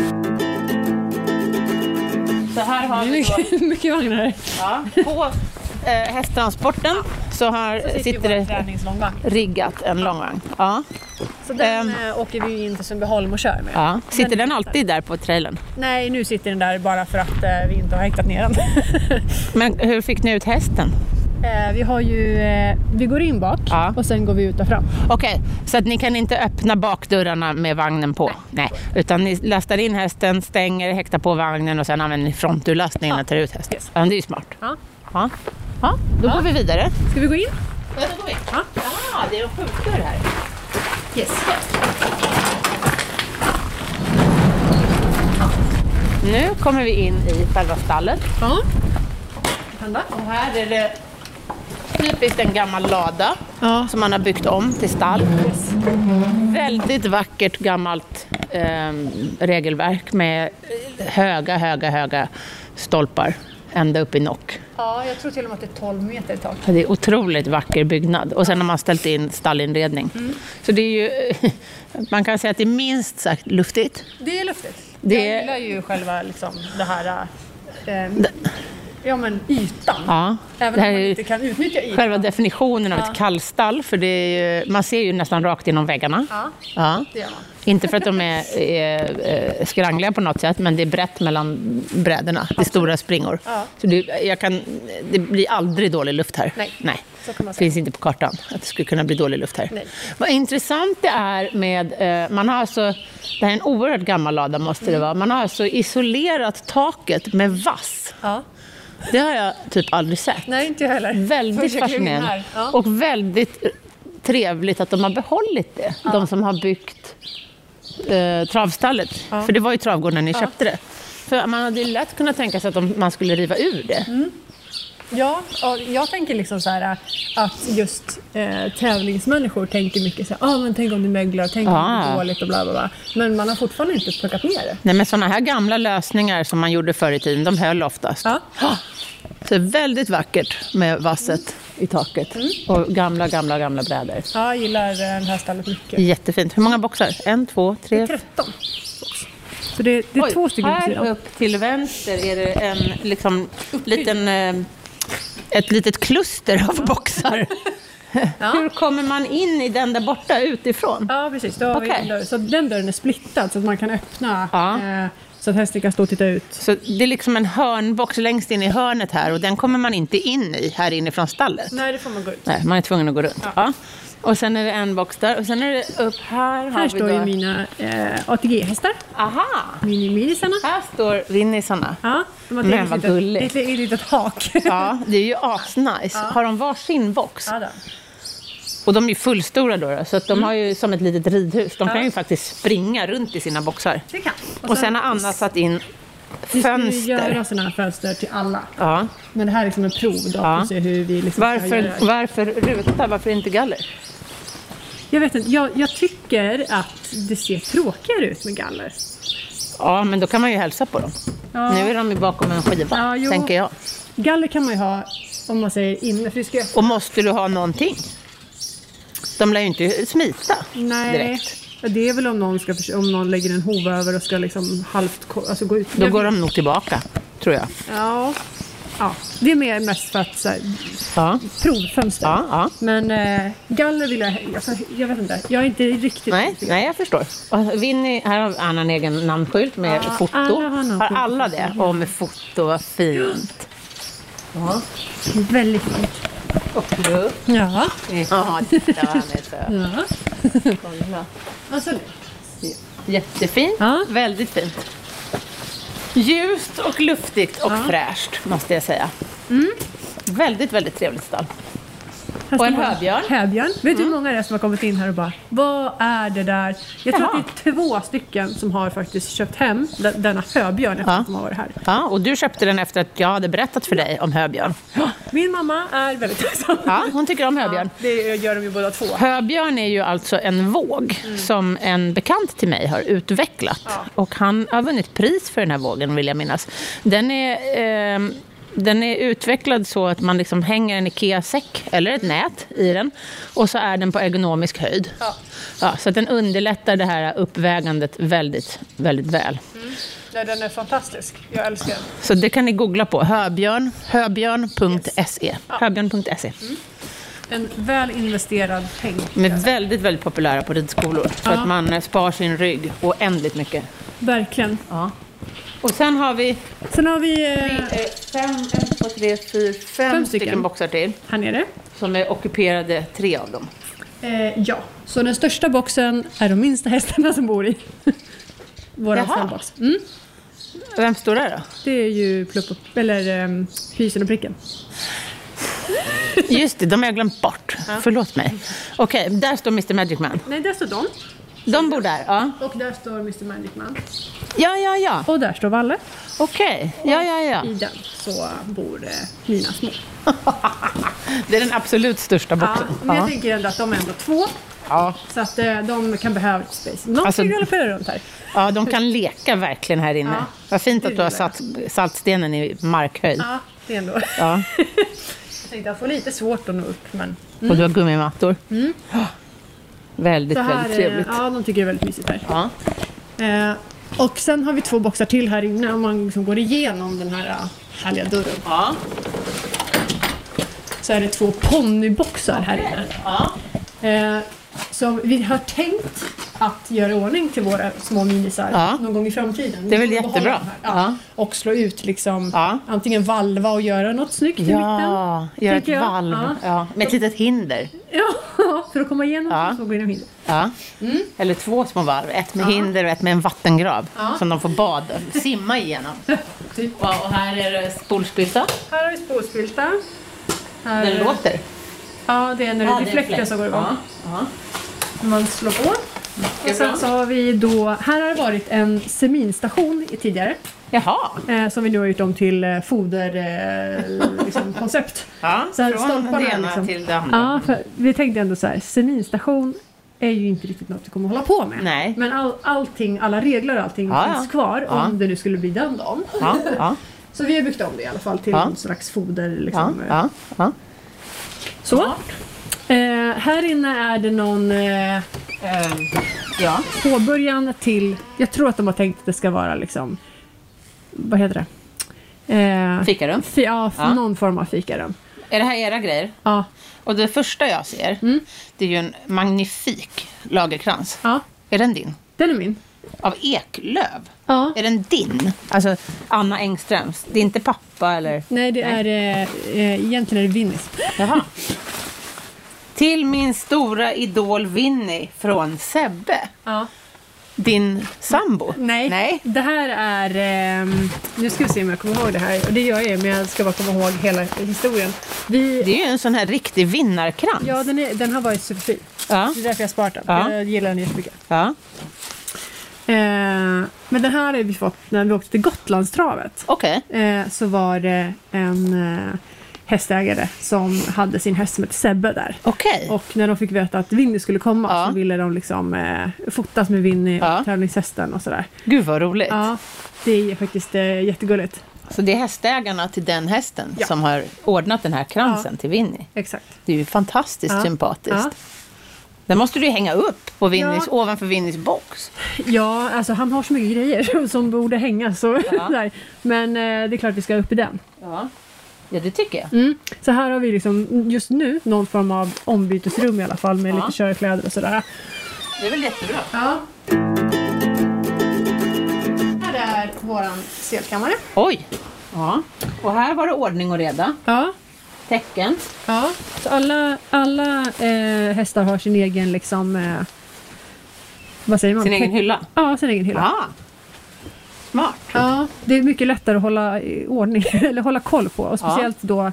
Så här har vi då...
Mycket, (laughs) mycket vagnar.
Ja, på eh, hästtransporten så här sitter, det
träningslångvagn.
riggat en långvagn. Ja,
Så den
Ehm.
eh, åker vi ju in till Sundbyholm och kör med.
ja. Sitter den,
Den sitter.
alltid där på trailern?
Nej, nu sitter den där bara för att eh, vi inte har häktat ner den. (laughs)
Men hur fick ni ut hästen?
eh, vi har ju... Eh, vi går in bak
Ja.
och sen går vi ut och fram.
Okej, så att ni kan inte öppna bakdörrarna med vagnen på? Nej, utan ni lastar in hästen, stänger, häktar på vagnen och sen använder ni fronturlastningen och tar ut hästen.
Yes.
Ja, men det är ju smart.
Ja.
Ja, ja då går vi vidare.
Ska vi gå in?
Ja, då går vi.
Ja.
Ah, det är en skjutdörr här.
Yes.
Nu kommer vi in i själva stallet.
Ja. Vända.
Och här är det typiskt en gammal lada
Ja.
som man har byggt om till stall.
Yes.
Väldigt vackert gammalt ehm, regelverk med höga, höga, höga stolpar ända upp i nock.
Ja, jag tror till och med att det är 12 meter i tak.
Det är otroligt vacker byggnad. Och sen har man ställt in stallinredning. Så det är ju, (laughs) man kan säga att det är minst sagt luftigt.
Det är luftigt.
Det-
Jag gillar ju själva liksom det här... Eh, ja men ytan.
Ja.
Även
Det här
om man
är ju
inte kan utnyttja ytan.
själva definitionen av ett kallstall, för det är ju, man ser ju nästan rakt genom väggarna.
Ja,
Ja.
det gör man.
Inte för att de är, är, eh, skrangliga på något sätt, men det är brett mellan bräderna. Det är stora springor.
Ja.
Så det, jag kan, det blir aldrig dålig luft här.
Nej, så kan man säga.
finns inte på kartan att det skulle kunna bli dålig luft här.
Nej.
Vad intressant det är med... eh, Man har alltså, det här är en oerhört gammal lada, måste
Mm.
det vara. Man har alltså isolerat taket med vass.
Ja.
Det har jag typ aldrig sett.
Nej, inte jag heller.
Väldigt
Först jag klev in
fascinerande.
här. Ja.
Och väldigt trevligt att de har behållit det. De som har byggt eh, travstallet. För det var ju travgården när ni köpte det. För man hade ju lätt kunnat tänka sig att de, man skulle riva ur det.
Mm. Ja, och jag tänker liksom så här att just eh, tävlingsmänniskor tänker mycket så här, ah, men tänk om det möglar, tänk om det
Ah.
är dåligt och bla bla bla. Men man har fortfarande inte plockat ner det.
Nej, men sådana här gamla lösningar som man gjorde förr i tiden, de höll oftast.
Ja.
Ah, Så väldigt vackert med vasset i taket.
Mm.
Och gamla, gamla, gamla brädor.
Ja, äh, jag gillar eh, det här stallet mycket.
Jättefint. Hur många boxar? En, två, tre,
13. Så det, det är två stycken på
här
sidan.
upp till vänster är det en liksom, liten, eh, ett litet kluster av boxar. Hur kommer man in i den där borta utifrån?
Ja, precis. Då har vi
Okej.
en dörr. Så den dörren är splittad så att man kan öppna
Ja.
eh, så att hästen kan stå och titta ut.
Så det är liksom en hörnbox längst in i hörnet här och den kommer man inte in i här inifrån stallet.
Nej, det får man gå ut.
Nej, man är tvungen att gå runt. Ja. Och sen är det en box där och sen är det upp här. har
Här
vi
står
då-
ju mina eh, ATG-hästar,
Aha!
mini-minisarna.
Här står Vinnisarna.
Ja, de har
Men
ett
vad
litet-
gulligt.
Ett, ett litet hak.
Ja, det är ju asnice. Har de var sin box?
Ja, då.
Och de är ju fullstora då, då så att de
Mm.
har ju som ett litet ridhus. De kan ju faktiskt springa runt i sina boxar.
Det kan.
Och sen har Anna satt in
Vi ska ju
fönster.
göra sådana här fönster till alla.
Ja.
Men det här är liksom en prov då,
Ja.
för att se hur vi liksom ska göra.
Varför, varför ruta, varför inte galler?
Jag vet inte, jag, jag tycker att det ser tråkigare ut med galler.
Ja, men då kan man ju hälsa på dem.
Ja.
Nu är de ju bakom en skiva,
Ja, jo.
tänker jag.
Galler kan man ju ha om man säger inne, för vi ska
Och måste du ha någonting? De lär ju inte smita
Nej,
direkt.
Ja, det är väl om någon, ska, förs- om någon lägger en hov över och ska liksom halvt ko- alltså gå ut.
Då
Jag
går
vet-
de nog tillbaka, tror jag.
Ja. ja. Det är mer mest för att så här,
Ja,
provfönster.
ja, ja.
Men eh, galler vill jag... Alltså, jag vet inte. Jag är inte riktigt...
Nej, nej, jag förstår. Och Vinny, här har Anna en egen namnskylt med
Ja,
foto.
alla har
Har,
namnskylt.
alla det? Och med foto, vad fint. Ja.
Väldigt fint.
Och grupp.
Ja.
Ja, titta vad han är söt.
ja.
Kolla.
Alltså,
Jättefint,
Ja.
väldigt fint. Ljust och luftigt och
Ja. Mm.
fräscht, måste jag säga. Väldigt, väldigt trevligt stall.
här
Och en
står-
höbjörn. Mm.
Höbjörn. Vet du hur många det är som har kommit in här och bara Vad är det där? Jag tror
Jaha.
att det är två stycken som har faktiskt köpt hem de- denna höbjörn efter
Ja.
att de har varit här.
Ja, och du köpte den efter att jag hade berättat för dig om höbjörn.
Min mamma är väldigt tacksam.
Ja, hon tycker om höbjörn.
Det gör de ju båda två.
Höbjörn är ju alltså en våg som en bekant till mig har utvecklat. Och han har vunnit pris för den här vågen, vill jag minnas. Den är, ehm, den är utvecklad så att man liksom hänger en IKEA-säck, eller ett nät, i den. Och så är den på ergonomisk höjd. Ja. så att den underlättar det här uppvägandet väldigt, väldigt väl.
Nej, den är fantastisk. Jag älskar den.
Så det kan ni googla på. Höbjörn, höbjörn.se. Höbjörn.se.
En väl investerad peng.
De är väldigt, väldigt populära på ridskolor. Så att man eh, spar sin rygg oändligt mycket.
Verkligen.
Ja. Och sen har vi
Sen har vi eh,
eh, fem, en, två, tre, fyra, fem, stycken.
Fem stycken.
boxar till.
här nere.
Som är ockuperade, tre av dem.
Eh, ja, så den största boxen är de minsta hästarna som bor i. (laughs) Våra
Jaha.
stallbox. Mm,
Vem står där då?
det är ju plupp och, eller um, pysen och pricken.
(laughs) Just det, de har jag glömt bort. Förlåt mig. Okej, där står Mr Magic Man.
Nej, där står de.
De bor där, ja.
Och där står Mr Magic Man.
Ja, ja, ja.
Och där står Valle.
Okej. Ja, ja, ja.
I den så bor eh, mina små.
Det är den absolut största
Ja,
boxen.
men jag tänker ändå att de är ändå två.
ja.
Så att eh, de kan behöva lite space. Någon
Alltså-
ska galoppera runt här.
ja, de kan leka verkligen här inne.
Ja.
Vad fint att
Det
du har
gillar jag.
satt saltstenen i markhöjd.
Ja, det är ändå.
Ja.
Jag tänkte jag får lite svårt att nå upp men...
Och du har gummimattor. Ja. (gasps) Väldigt,
Så Mm. här,
väldigt trevligt.
eh, ja, de tycker det är väldigt mysigt här.
Ja.
Eh, och sen har vi två boxar till här inne om man liksom går igenom den här eh, härliga dörren.
Ja.
Så är det två ponnyboxar här inne.
Ja.
Eh, som vi har tänkt att göra i ordning till våra små minisar
Ja.
någon gång i framtiden.
Det är väl
Vi får behålla
jättebra.
de här.
Ja.
Ja. Och slå ut liksom
Ja.
antingen valva och göra något snyggt i mitten.
Ja, gör ett
tänker jag.
valv. Ja.
Ja.
Med ett litet hinder.
Ja, (laughs) för att komma igenom
Ja.
så går igenom hindret.
Ja.
Mm.
Eller två små valv. Ett med hinder och ett med en vattengrav.
Ja.
Som de får bada, simma igenom.
(laughs) Typ.
Ja, och här är det spolspilta.
Här har vi spåspilta. Här-
Den låter.
Ja, det är när det blir fläkten som går igång.
Ja. Ja.
Man slår på. Och sen så har vi då, här har det varit en seminstation i- tidigare
Jaha.
eh, som vi nu har gjort om till eh, foder
(laughs)
eh, liksom, koncept.
Ja,
Så här,
från
stolparna
det ena
liksom.
till det andra.
Ja, för vi tänkte ändå så här, seminstation är ju inte riktigt något vi kommer hålla på med.
Nej.
Men all, allting, alla regler och allting
Ja, ja.
finns kvar
Ja.
om det nu skulle bli den dagen.
Ja, ja,
Så vi har byggt om det i alla fall till
Ja.
någon slags foder.
ja,
Liksom, eh,
ja, ja.
Så. Eh, här inne är det någon eh, eh,
Ja.
påbörjan till, jag tror att de har tänkt att det ska vara liksom, vad heter det? Eh,
Fikarum.
Fi, ja,
Ja.
någon form av fikarum.
Är det här era grejer?
Ja,
Och det första jag ser,
Mm.
det är ju en magnifik lagerkrans.
ja,
Är den din?
den är min.
Av eklöv?
Ja.
Är den din? Alltså, Anna Engströms. Det är inte pappa eller...
Nej, det är eh, eh, egentligen är det Vinnis.
Jaha. Till min stora idol Winnie från Sebbe.
Ja.
Din sambo?
Nej.
Nej.
det här är... ehm, nu ska vi se om jag kommer ihåg det här. Och det gör jag ju, men jag ska bara komma ihåg hela historien. Vi,
Det är ju en sån här riktig vinnarkrans.
ja, den, är, den har varit superfin.
Ja.
Det är därför jag har sparat den.
Ja.
Jag gillar den jättemycket.
ja.
Eh, men den här har vi fått när vi åkte till Gotlandstravet.
Okej.
Eh, så var det en eh, hästägare som hade sin häst som hette Sebbe där.
Okej.
Och när de fick veta att Winnie skulle komma
Ja.
så ville de liksom eh, fotas med Winnie och
Ja.
tävlingshästen och sådär.
Gud vad roligt.
Ja, det är faktiskt eh, jättegulligt.
Så det är hästägarna till den hästen
Ja.
som har ordnat den här kransen till Winnie.
Exakt.
Det är ju fantastiskt
Ja.
sympatiskt.
Ja.
Den måste du ju hänga upp på Winnies,
Ja.
ovanför Winnies box.
ja, alltså han har så mycket grejer (laughs) som borde hänga. Så, (laughs)
Ja.
där. Men eh, det är klart vi ska upp i den.
Ja. ja, det tycker jag.
Mm. Så här har vi liksom just nu någon form av ombytesrum i alla fall med
Ja.
lite körkläder och sådär.
Det är väl jättebra.
Ja. Här är våran selkammare.
Oj! Ja. Och här var det ordning och reda.
Ja.
Tecken.
ja. Så alla, alla eh, hästar har sin egen liksom... Eh, vad säger man?
Sin egen
Teck-
hylla.
Ja, sin egen hylla.
Ja. Smart.
Ja, det är mycket lättare att hålla i ordning (laughs) eller hålla koll på. Och speciellt då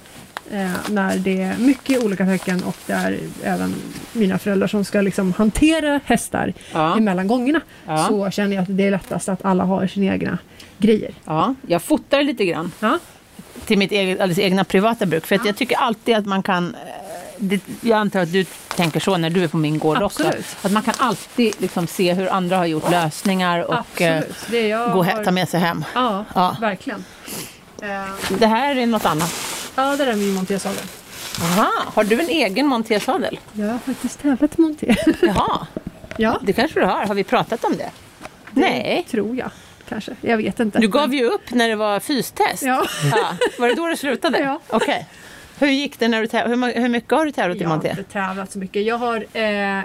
eh, när det är mycket olika tecken och det är även mina föräldrar som ska liksom hantera hästar
Ja.
emellan gångerna.
Ja.
Så känner jag att det är lättast att alla har sina egna grejer.
Ja, jag fotar lite grann.
Ja,
till mitt eget, alldeles egna privata bruk. För att jag tycker alltid att man kan, eh, det, jag antar att du tänker så när du är på min gård
Absolut.
också, att man kan alltid liksom se hur andra har gjort lösningar och eh,
absolut. Det är jag
gå och
har-
he- ta med sig hem.
Ja,
Ja.
verkligen. Eh,
Det här är något annat.
ja, det där är min montésadel.
Aha, har du en egen montésadel?
Jag har faktiskt tävlat i monté.
Jaha,
ja,
det kanske du har. Har vi pratat om det?
(laughs) det
Nej.
tror jag. Kanske. Jag vet inte.
Du gav ju upp när det var fystest.
Ja.
Ja, Var det då det slutade?
Ja.
Okej. Hur gick det när du täv- hur, ma- hur mycket har du tävlat i
Jag har
monté?
inte tävlat så mycket. Jag har eh,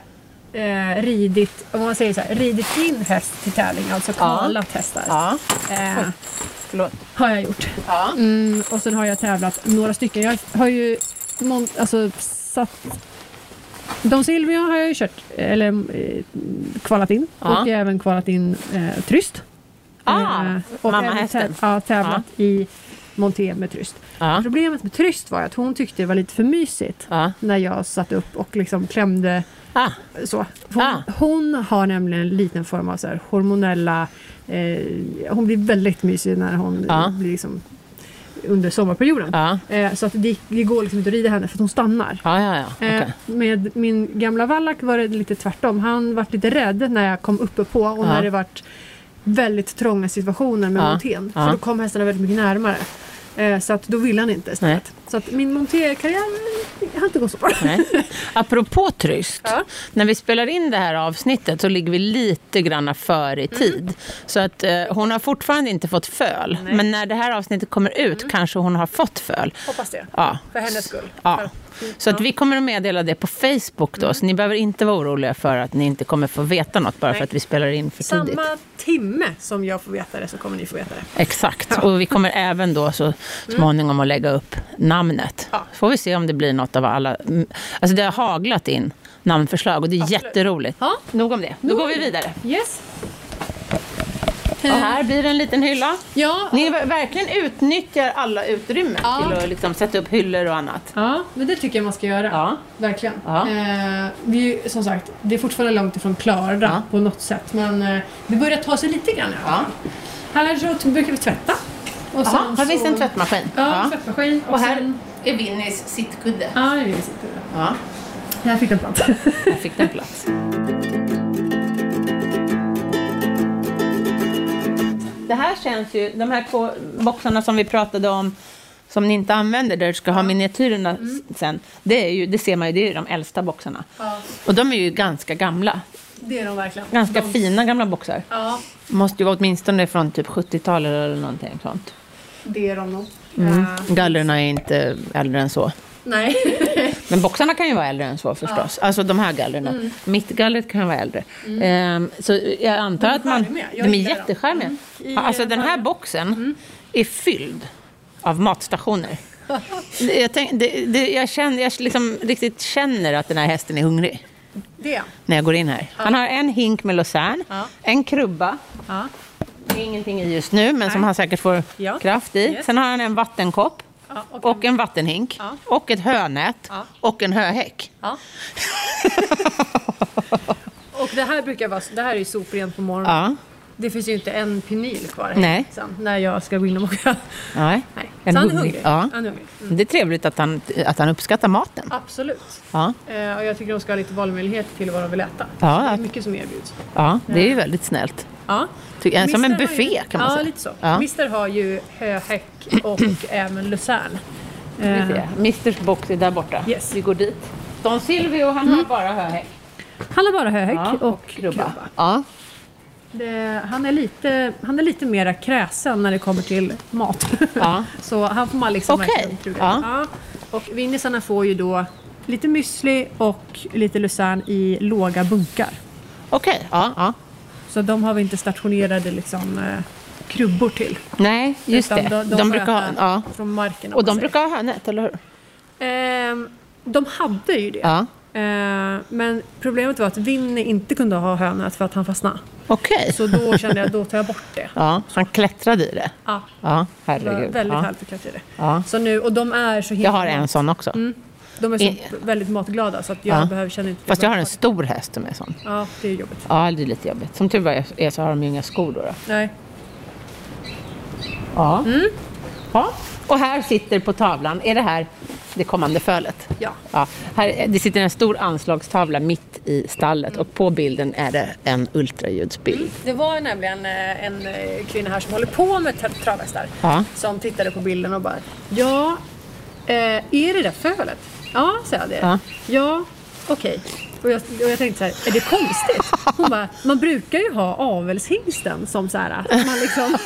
eh, ridit, om man säger så här, ridit in häst till tävling, alltså kvalat hästar.
Ja,
Eh,
förlåt.
har jag gjort.
Ja.
Mm, och sen har jag tävlat några stycken. Jag har ju mon- alltså, satt... Don Silvio har jag ju kört, eller eh, kvalat in.
Ja.
Och jag har även kvalat in eh, Tryst. Eh,
Ah,
och
mamma
även
hästen.
tä- Ja, tävlat i monté med Tryst.
Ja.
Problemet med Tryst var ju att hon tyckte det var lite för mysigt
Ja.
när jag satt upp och liksom klämde
Ah.
så. Hon,
Ah.
hon har nämligen en liten form av så här hormonella... Eh, hon blir väldigt mysig när hon
Ja.
eh, blir liksom under sommarperioden.
Ja.
Eh, så att det, det går liksom inte att rida henne för att hon stannar.
Ja, ja, ja. Okej.
Eh, med min gamla vallack var det lite tvärtom. Han var lite rädd när jag kom uppe på och
Ja.
när det vart väldigt trånga situationer med
Ja.
montén.
Ja.
För då kom hästarna väldigt mycket närmare. Eh, så att då ville han inte istället. Så att min montékarriär eh, har inte gått så bra.
Nej. Apropå tryst.
Ja.
När vi spelar in det här avsnittet så ligger vi lite grann före
Mm.
i tid. Så att eh, hon har fortfarande inte fått föl.
Nej.
Men när det här avsnittet kommer ut kanske hon har fått föl.
Hoppas det.
Ja.
För hennes skull.
Ja. Så att vi kommer att meddela det på Facebook då. Så ni behöver inte vara oroliga för att ni inte kommer få veta något bara för
Nej.
att vi spelar in för tidigt.
Samma timme som jag får veta det så kommer ni få veta det.
Exakt, och vi kommer även då så småningom att lägga upp namnet.
Mm. Ja.
Får vi se om det blir något av alla... mm, Alltså det har haglat in namnförslag och det är
Absolut.
jätteroligt.
Ja.
Nog om det, då
Nog
går
om
vi
det.
vidare.
Yes.
Och här blir det en liten hylla.
Ja.
Ni ver- verkligen utnyttjar alla utrymmen
Ja.
till att liksom sätta upp hyllor och annat.
ja, men det tycker jag man ska göra.
Ja.
Verkligen.
Ja.
Eh, vi, är ju, som sagt, det är fortfarande långt ifrån klara
Ja.
på något sätt. Men eh, det börjar ta sig lite grann. Ja.
Ja.
Här så t- brukar vi tvätta. Och
Aha,
sen
här finns
så-
en tvättmaskin.
Ja, tvättmaskin.
Och här
sen-
är Winnies sittkudde.
Ja, det vill jag sitta där.
Ja.
Här fick den plats.
Där fick den plats. Det här känns ju, de här två boxarna som vi pratade om som ni inte använder, där du ska ha miniatyrerna sen. Det, är ju, det ser man ju, det är ju de äldsta boxarna. Och de är ju ganska gamla.
Det är de verkligen.
Ganska
de,
fina gamla boxar.
Ja,
Måste ju vara åtminstone från typ 70-talet eller någonting sånt.
det är de nog.
Mm.
Eh,
Gallerna är inte äldre än så.
nej. (laughs)
Men boxarna kan ju vara äldre än så förstås. Alltså de här gallerna.
Mm.
Mittgallret kan vara äldre. Ehm, så jag antar
De är
att man...
charmiga. Jag
De är
gillar dem.
jättecharmiga.
I,
Ja, Alltså
eh, mm.
den här
Malmö.
boxen är fylld av matstationer. Det- jag, tänk, det, det, jag, känner, jag liksom riktigt känner att den här hästen är hungrig
det.
när jag går in här. Han har en hink med Lausanne,
Ja.
en krubba,
Ja.
det är ingenting i just nu, men som
Nej.
han säkert får
Ja.
kraft i.
Yes.
Sen har han en vattenkopp.
Ja, och,
Och en vattenhink.
Ja.
Och ett hönät.
Ja.
Och en höhäck.
Ja. (laughs) och det här brukar vara, det här är ju soprent på morgonen.
Ja.
Det finns ju inte en penil kvar
Nej.
sen när jag ska gå in och åka.
Nej.
Nej.
En
så han är
hungrig-
hungrig. Mm.
Ja.
Han är hungrig.
Det är trevligt att han, att han uppskattar maten.
Absolut.
Ja.
Eh, och jag tycker de ska ha lite valmöjlighet till vad de vill äta.
Ja.
Så Det är mycket som erbjuds.
ja, det är ju väldigt snällt.
Ja.
Tycker jag. Som en
Mister har ju-
buffé kan man
ja,
säga.
Lite så.
Ja.
Mister har ju höhäck och (clears throat) även lucern.
Vi ser. Misters box är där borta.
Yes.
Vi går dit. Don Silvio, han har bara höhäck.
Han har bara höhäck och, krubba.
Ja.
Det, han, är lite, han är lite mera kräsen när det kommer till mat.
Ja.
(laughs) Så han får man liksom
Okej.
verkligen truga.
Ja.
Ja. Och vinnisarna får ju då lite müsli och lite lucern i låga bunkar.
Okej, ja, ja.
Så de har vi inte stationerade liksom, eh, krubbor till.
Nej, just
Utan
det.
De, de,
De
får
brukar ha,
äta
ja.
från marken. om
Och
man
de
säger.
brukar ha hönät, eller hur?
Ehm, de hade ju det.
Ja.
Ehm, men problemet var att Vinny inte kunde ha hönät för att han fastnade.
Okej.
Så då kände jag då tar jag bort det.
Ja, han klättrade i det.
Ja,
Ja,
det var
herregud.
väldigt
ja.
härligt att klättra i det.
Ja.
Så nu, och de är så himla...
Jag har en sån också.
Mm. De är så
I-
väldigt matglada så att jag
Ja.
behöver känna inte...
Fast jag har en stor häst som är sån.
Ja, det är jobbigt.
Ja, det är lite jobbigt. Som tur var är så har de ju inga skor då. då.
Nej.
Ja. ja. Och här sitter på tavlan, är det här det kommande fölet?
Ja.
ja. Här, det sitter en stor anslagstavla mitt i stallet och på bilden är det en ultraljudsbild.
Det var nämligen eh, en eh, kvinna här som håller på med tra- travhästar
Ja.
som tittade på bilden och bara Ja, eh, är det där fölet? Ja, sa jag det.
Ja.
ja okej. Och, jag, och jag tänkte så här, är det konstigt? Hon bara, man brukar ju ha avelshingsten som så här, att man liksom...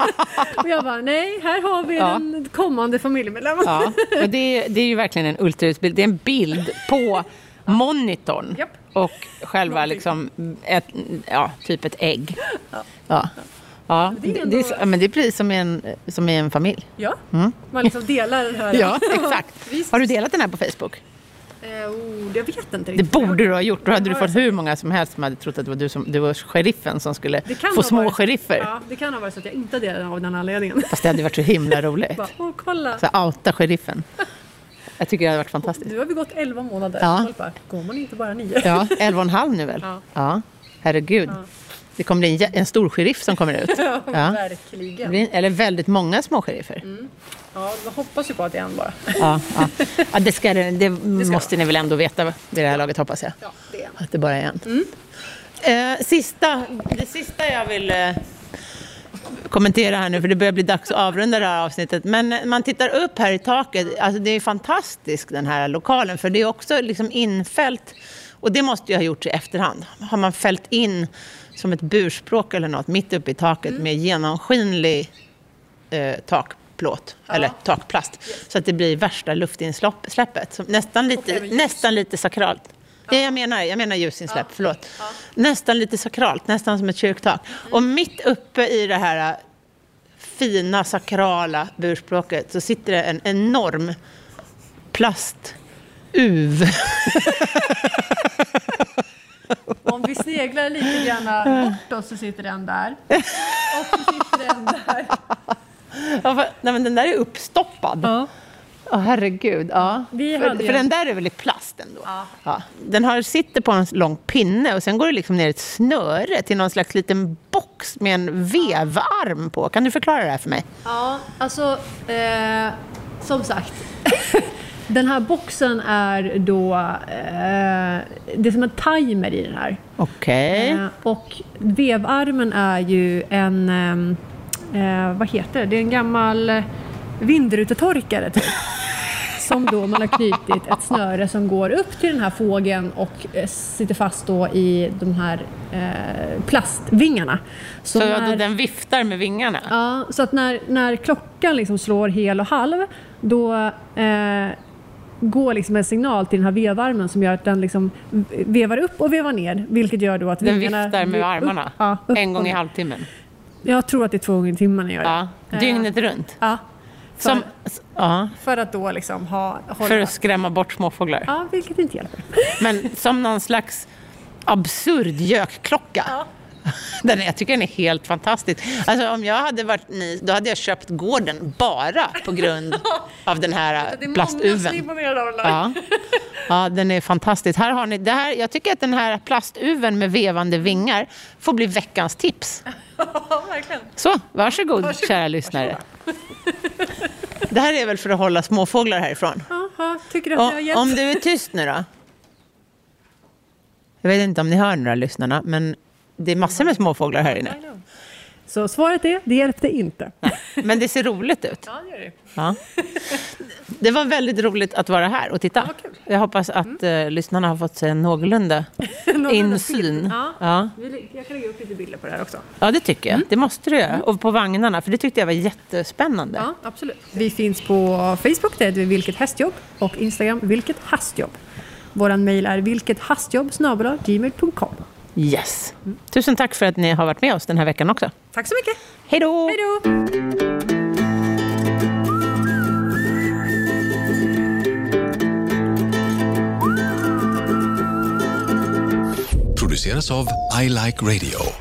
(laughs) och jag bara, nej, här har vi
Ja.
den kommande familjemedlemmen.
Ja. Och det, är, det är ju verkligen en ultraljudsbild. Det är en bild på monitorn
Japp.
och själva liksom ett, ja, typ ett ägg. Ja. Ja,
det är
det,
ändå-
det, är, så- ja, men det är precis som i en, som i en familj.
(laughs) Ja, man liksom delar den här.
Mm.
(laughs)
Ja, exakt.
Visst.
Har du delat den här på Facebook?
Eh, oh, jag vet inte
Det
riktigt.
borde du ha gjort. Då hade du
har jag
fått hur många som helst som hade trott att det var du som du var sheriffen som skulle
Det kan
få
ha
små
varit-
sheriffer.
Ja, det kan ha varit så att jag inte delade den av den anledningen.
Fast det hade varit så himla roligt.
(laughs) Bara, Åh, kolla!
Så här, outa sheriffen. Jag tycker det hade varit fantastiskt.
Nu har vi gått 11 månader.
Ja.
Folk bara, går man inte bara 9? (laughs)
Ja, elva och en halv nu väl?
Ja.
Herregud. Det kommer bli en, jä- en stor sheriff som kommer
(laughs)
ut. Ja. Det
Verkligen.
blir, eller väldigt många små sheriffer.
Mm. Ja, jag hoppas ju på att det är en bara.
Ja, ja. Ja, det, ska, det, det
ska
måste ni väl ändå veta vid det här laget hoppas jag.
(laughs) Ja, det är en.
Att det bara är en. Mm. Eh, sista, det sista jag vill eh, kommentera här nu, för det börjar bli dags att avrunda det här avsnittet. Men eh, man tittar upp här i taket, alltså det är fantastiskt den här lokalen, för det är också liksom infällt. Och det måste ju ha gjorts i efterhand. Har man fällt in som ett burspråk eller något mitt uppe i taket med genomskinlig eh, takplåt, eller takplast. Så att det blir värsta luftinsläppet. Som nästan, lite,
även ljus.
nästan lite sakralt. Ja, jag menar, jag menar ljusinsläpp, förlåt. Nästan lite sakralt, nästan som ett kyrktak. Och mitt uppe i det här eh, fina sakrala burspråket så sitter det en enorm plastuv.
Om vi sneglar lite grann bortåt så sitter den där. Och så sitter den där.
(laughs) Ja, för- Nej, men den där är uppstoppad. (laughs) Ja. herregud. Ja.
Vi
för,
hade ju-
för den där är väl i plast ändå?
Ja.
Den har, sitter på en lång pinne och sen går det liksom ner ett snöre till någon slags liten box med en vevarm på. Kan du förklara det här för mig?
Ja, alltså eh, som sagt. (laughs) Den här boxen är då... Eh, det är som en timer i den här.
Okej.
Eh, och vevarmen är ju en... ehm,
(laughs)
Eh, vad heter det? Det är en gammal vindrutetorkare typ. som då man har knutit ett snöre som går upp till den här fågeln och eh, sitter fast då i de här eh, plastvingarna.
Så
när-
ja, den viftar med vingarna?
Ja, så att när, när klockan liksom slår hel och halv då eh, går liksom en signal till den här vevarmen som gör att den liksom vevar upp och vevar ner. Vilket gör då att
Den
vingarna...
viftar med
upp-
armarna
ja, upp
en gång
och
i
ner.
halvtimmen?
Jag tror att det är två gånger i timmen jag gör det.
Ja, dygnet runt?
Ja, för,
Som, ja,
för att då liksom ha... Hålla.
för att skrämma bort småfåglar?
Ja, vilket inte hjälper.
Men som någon slags absurd gökklocka. Den, jag tycker den är helt fantastisk. Alltså, om jag hade varit ni, då hade jag köpt gården bara på grund av den här eh, plastuven.
imponerade av
Ja. ja, den är fantastisk. Här har ni, det här, jag tycker att den här plastuven med vevande vingar får bli veckans tips.
(laughs) ja, verkligen.
Så, varsågod, kära lyssnare. Det här är väl för att hålla småfåglar härifrån?
Jaha, tycker du att jag har
Och,
hjälpt?
om du är tyst nu då? Jag vet inte om ni hör några lyssnarna, men det är massor med småfåglar här inne.
Så svaret är, det hjälpte inte.
Men det ser roligt ut.
Ja, det gör (laughs) det.
Ja. Det var väldigt roligt att vara här och titta. Jag hoppas att
Mm.
eh, lyssnarna har fått sig en någorlunda
Någorlunda
insyn.
bild. Ja.
Ja.
Vi- Jag kan lägga upp lite bilder på det här också.
ja, det tycker
Mm.
jag. Det måste du göra. Och på vagnarna, för det tyckte jag var jättespännande.
Ja, absolut. Vi finns på Facebook, där heter vi Vilket Hästjobb och Instagram Vilket Hastjobb. Vår mejl är vilkethastjobb gmail.com.
Yes. Tusen tack för att ni har varit med oss den här veckan också.
Tack så mycket.
Hej då!
Hej då!
produceras av I Like Radio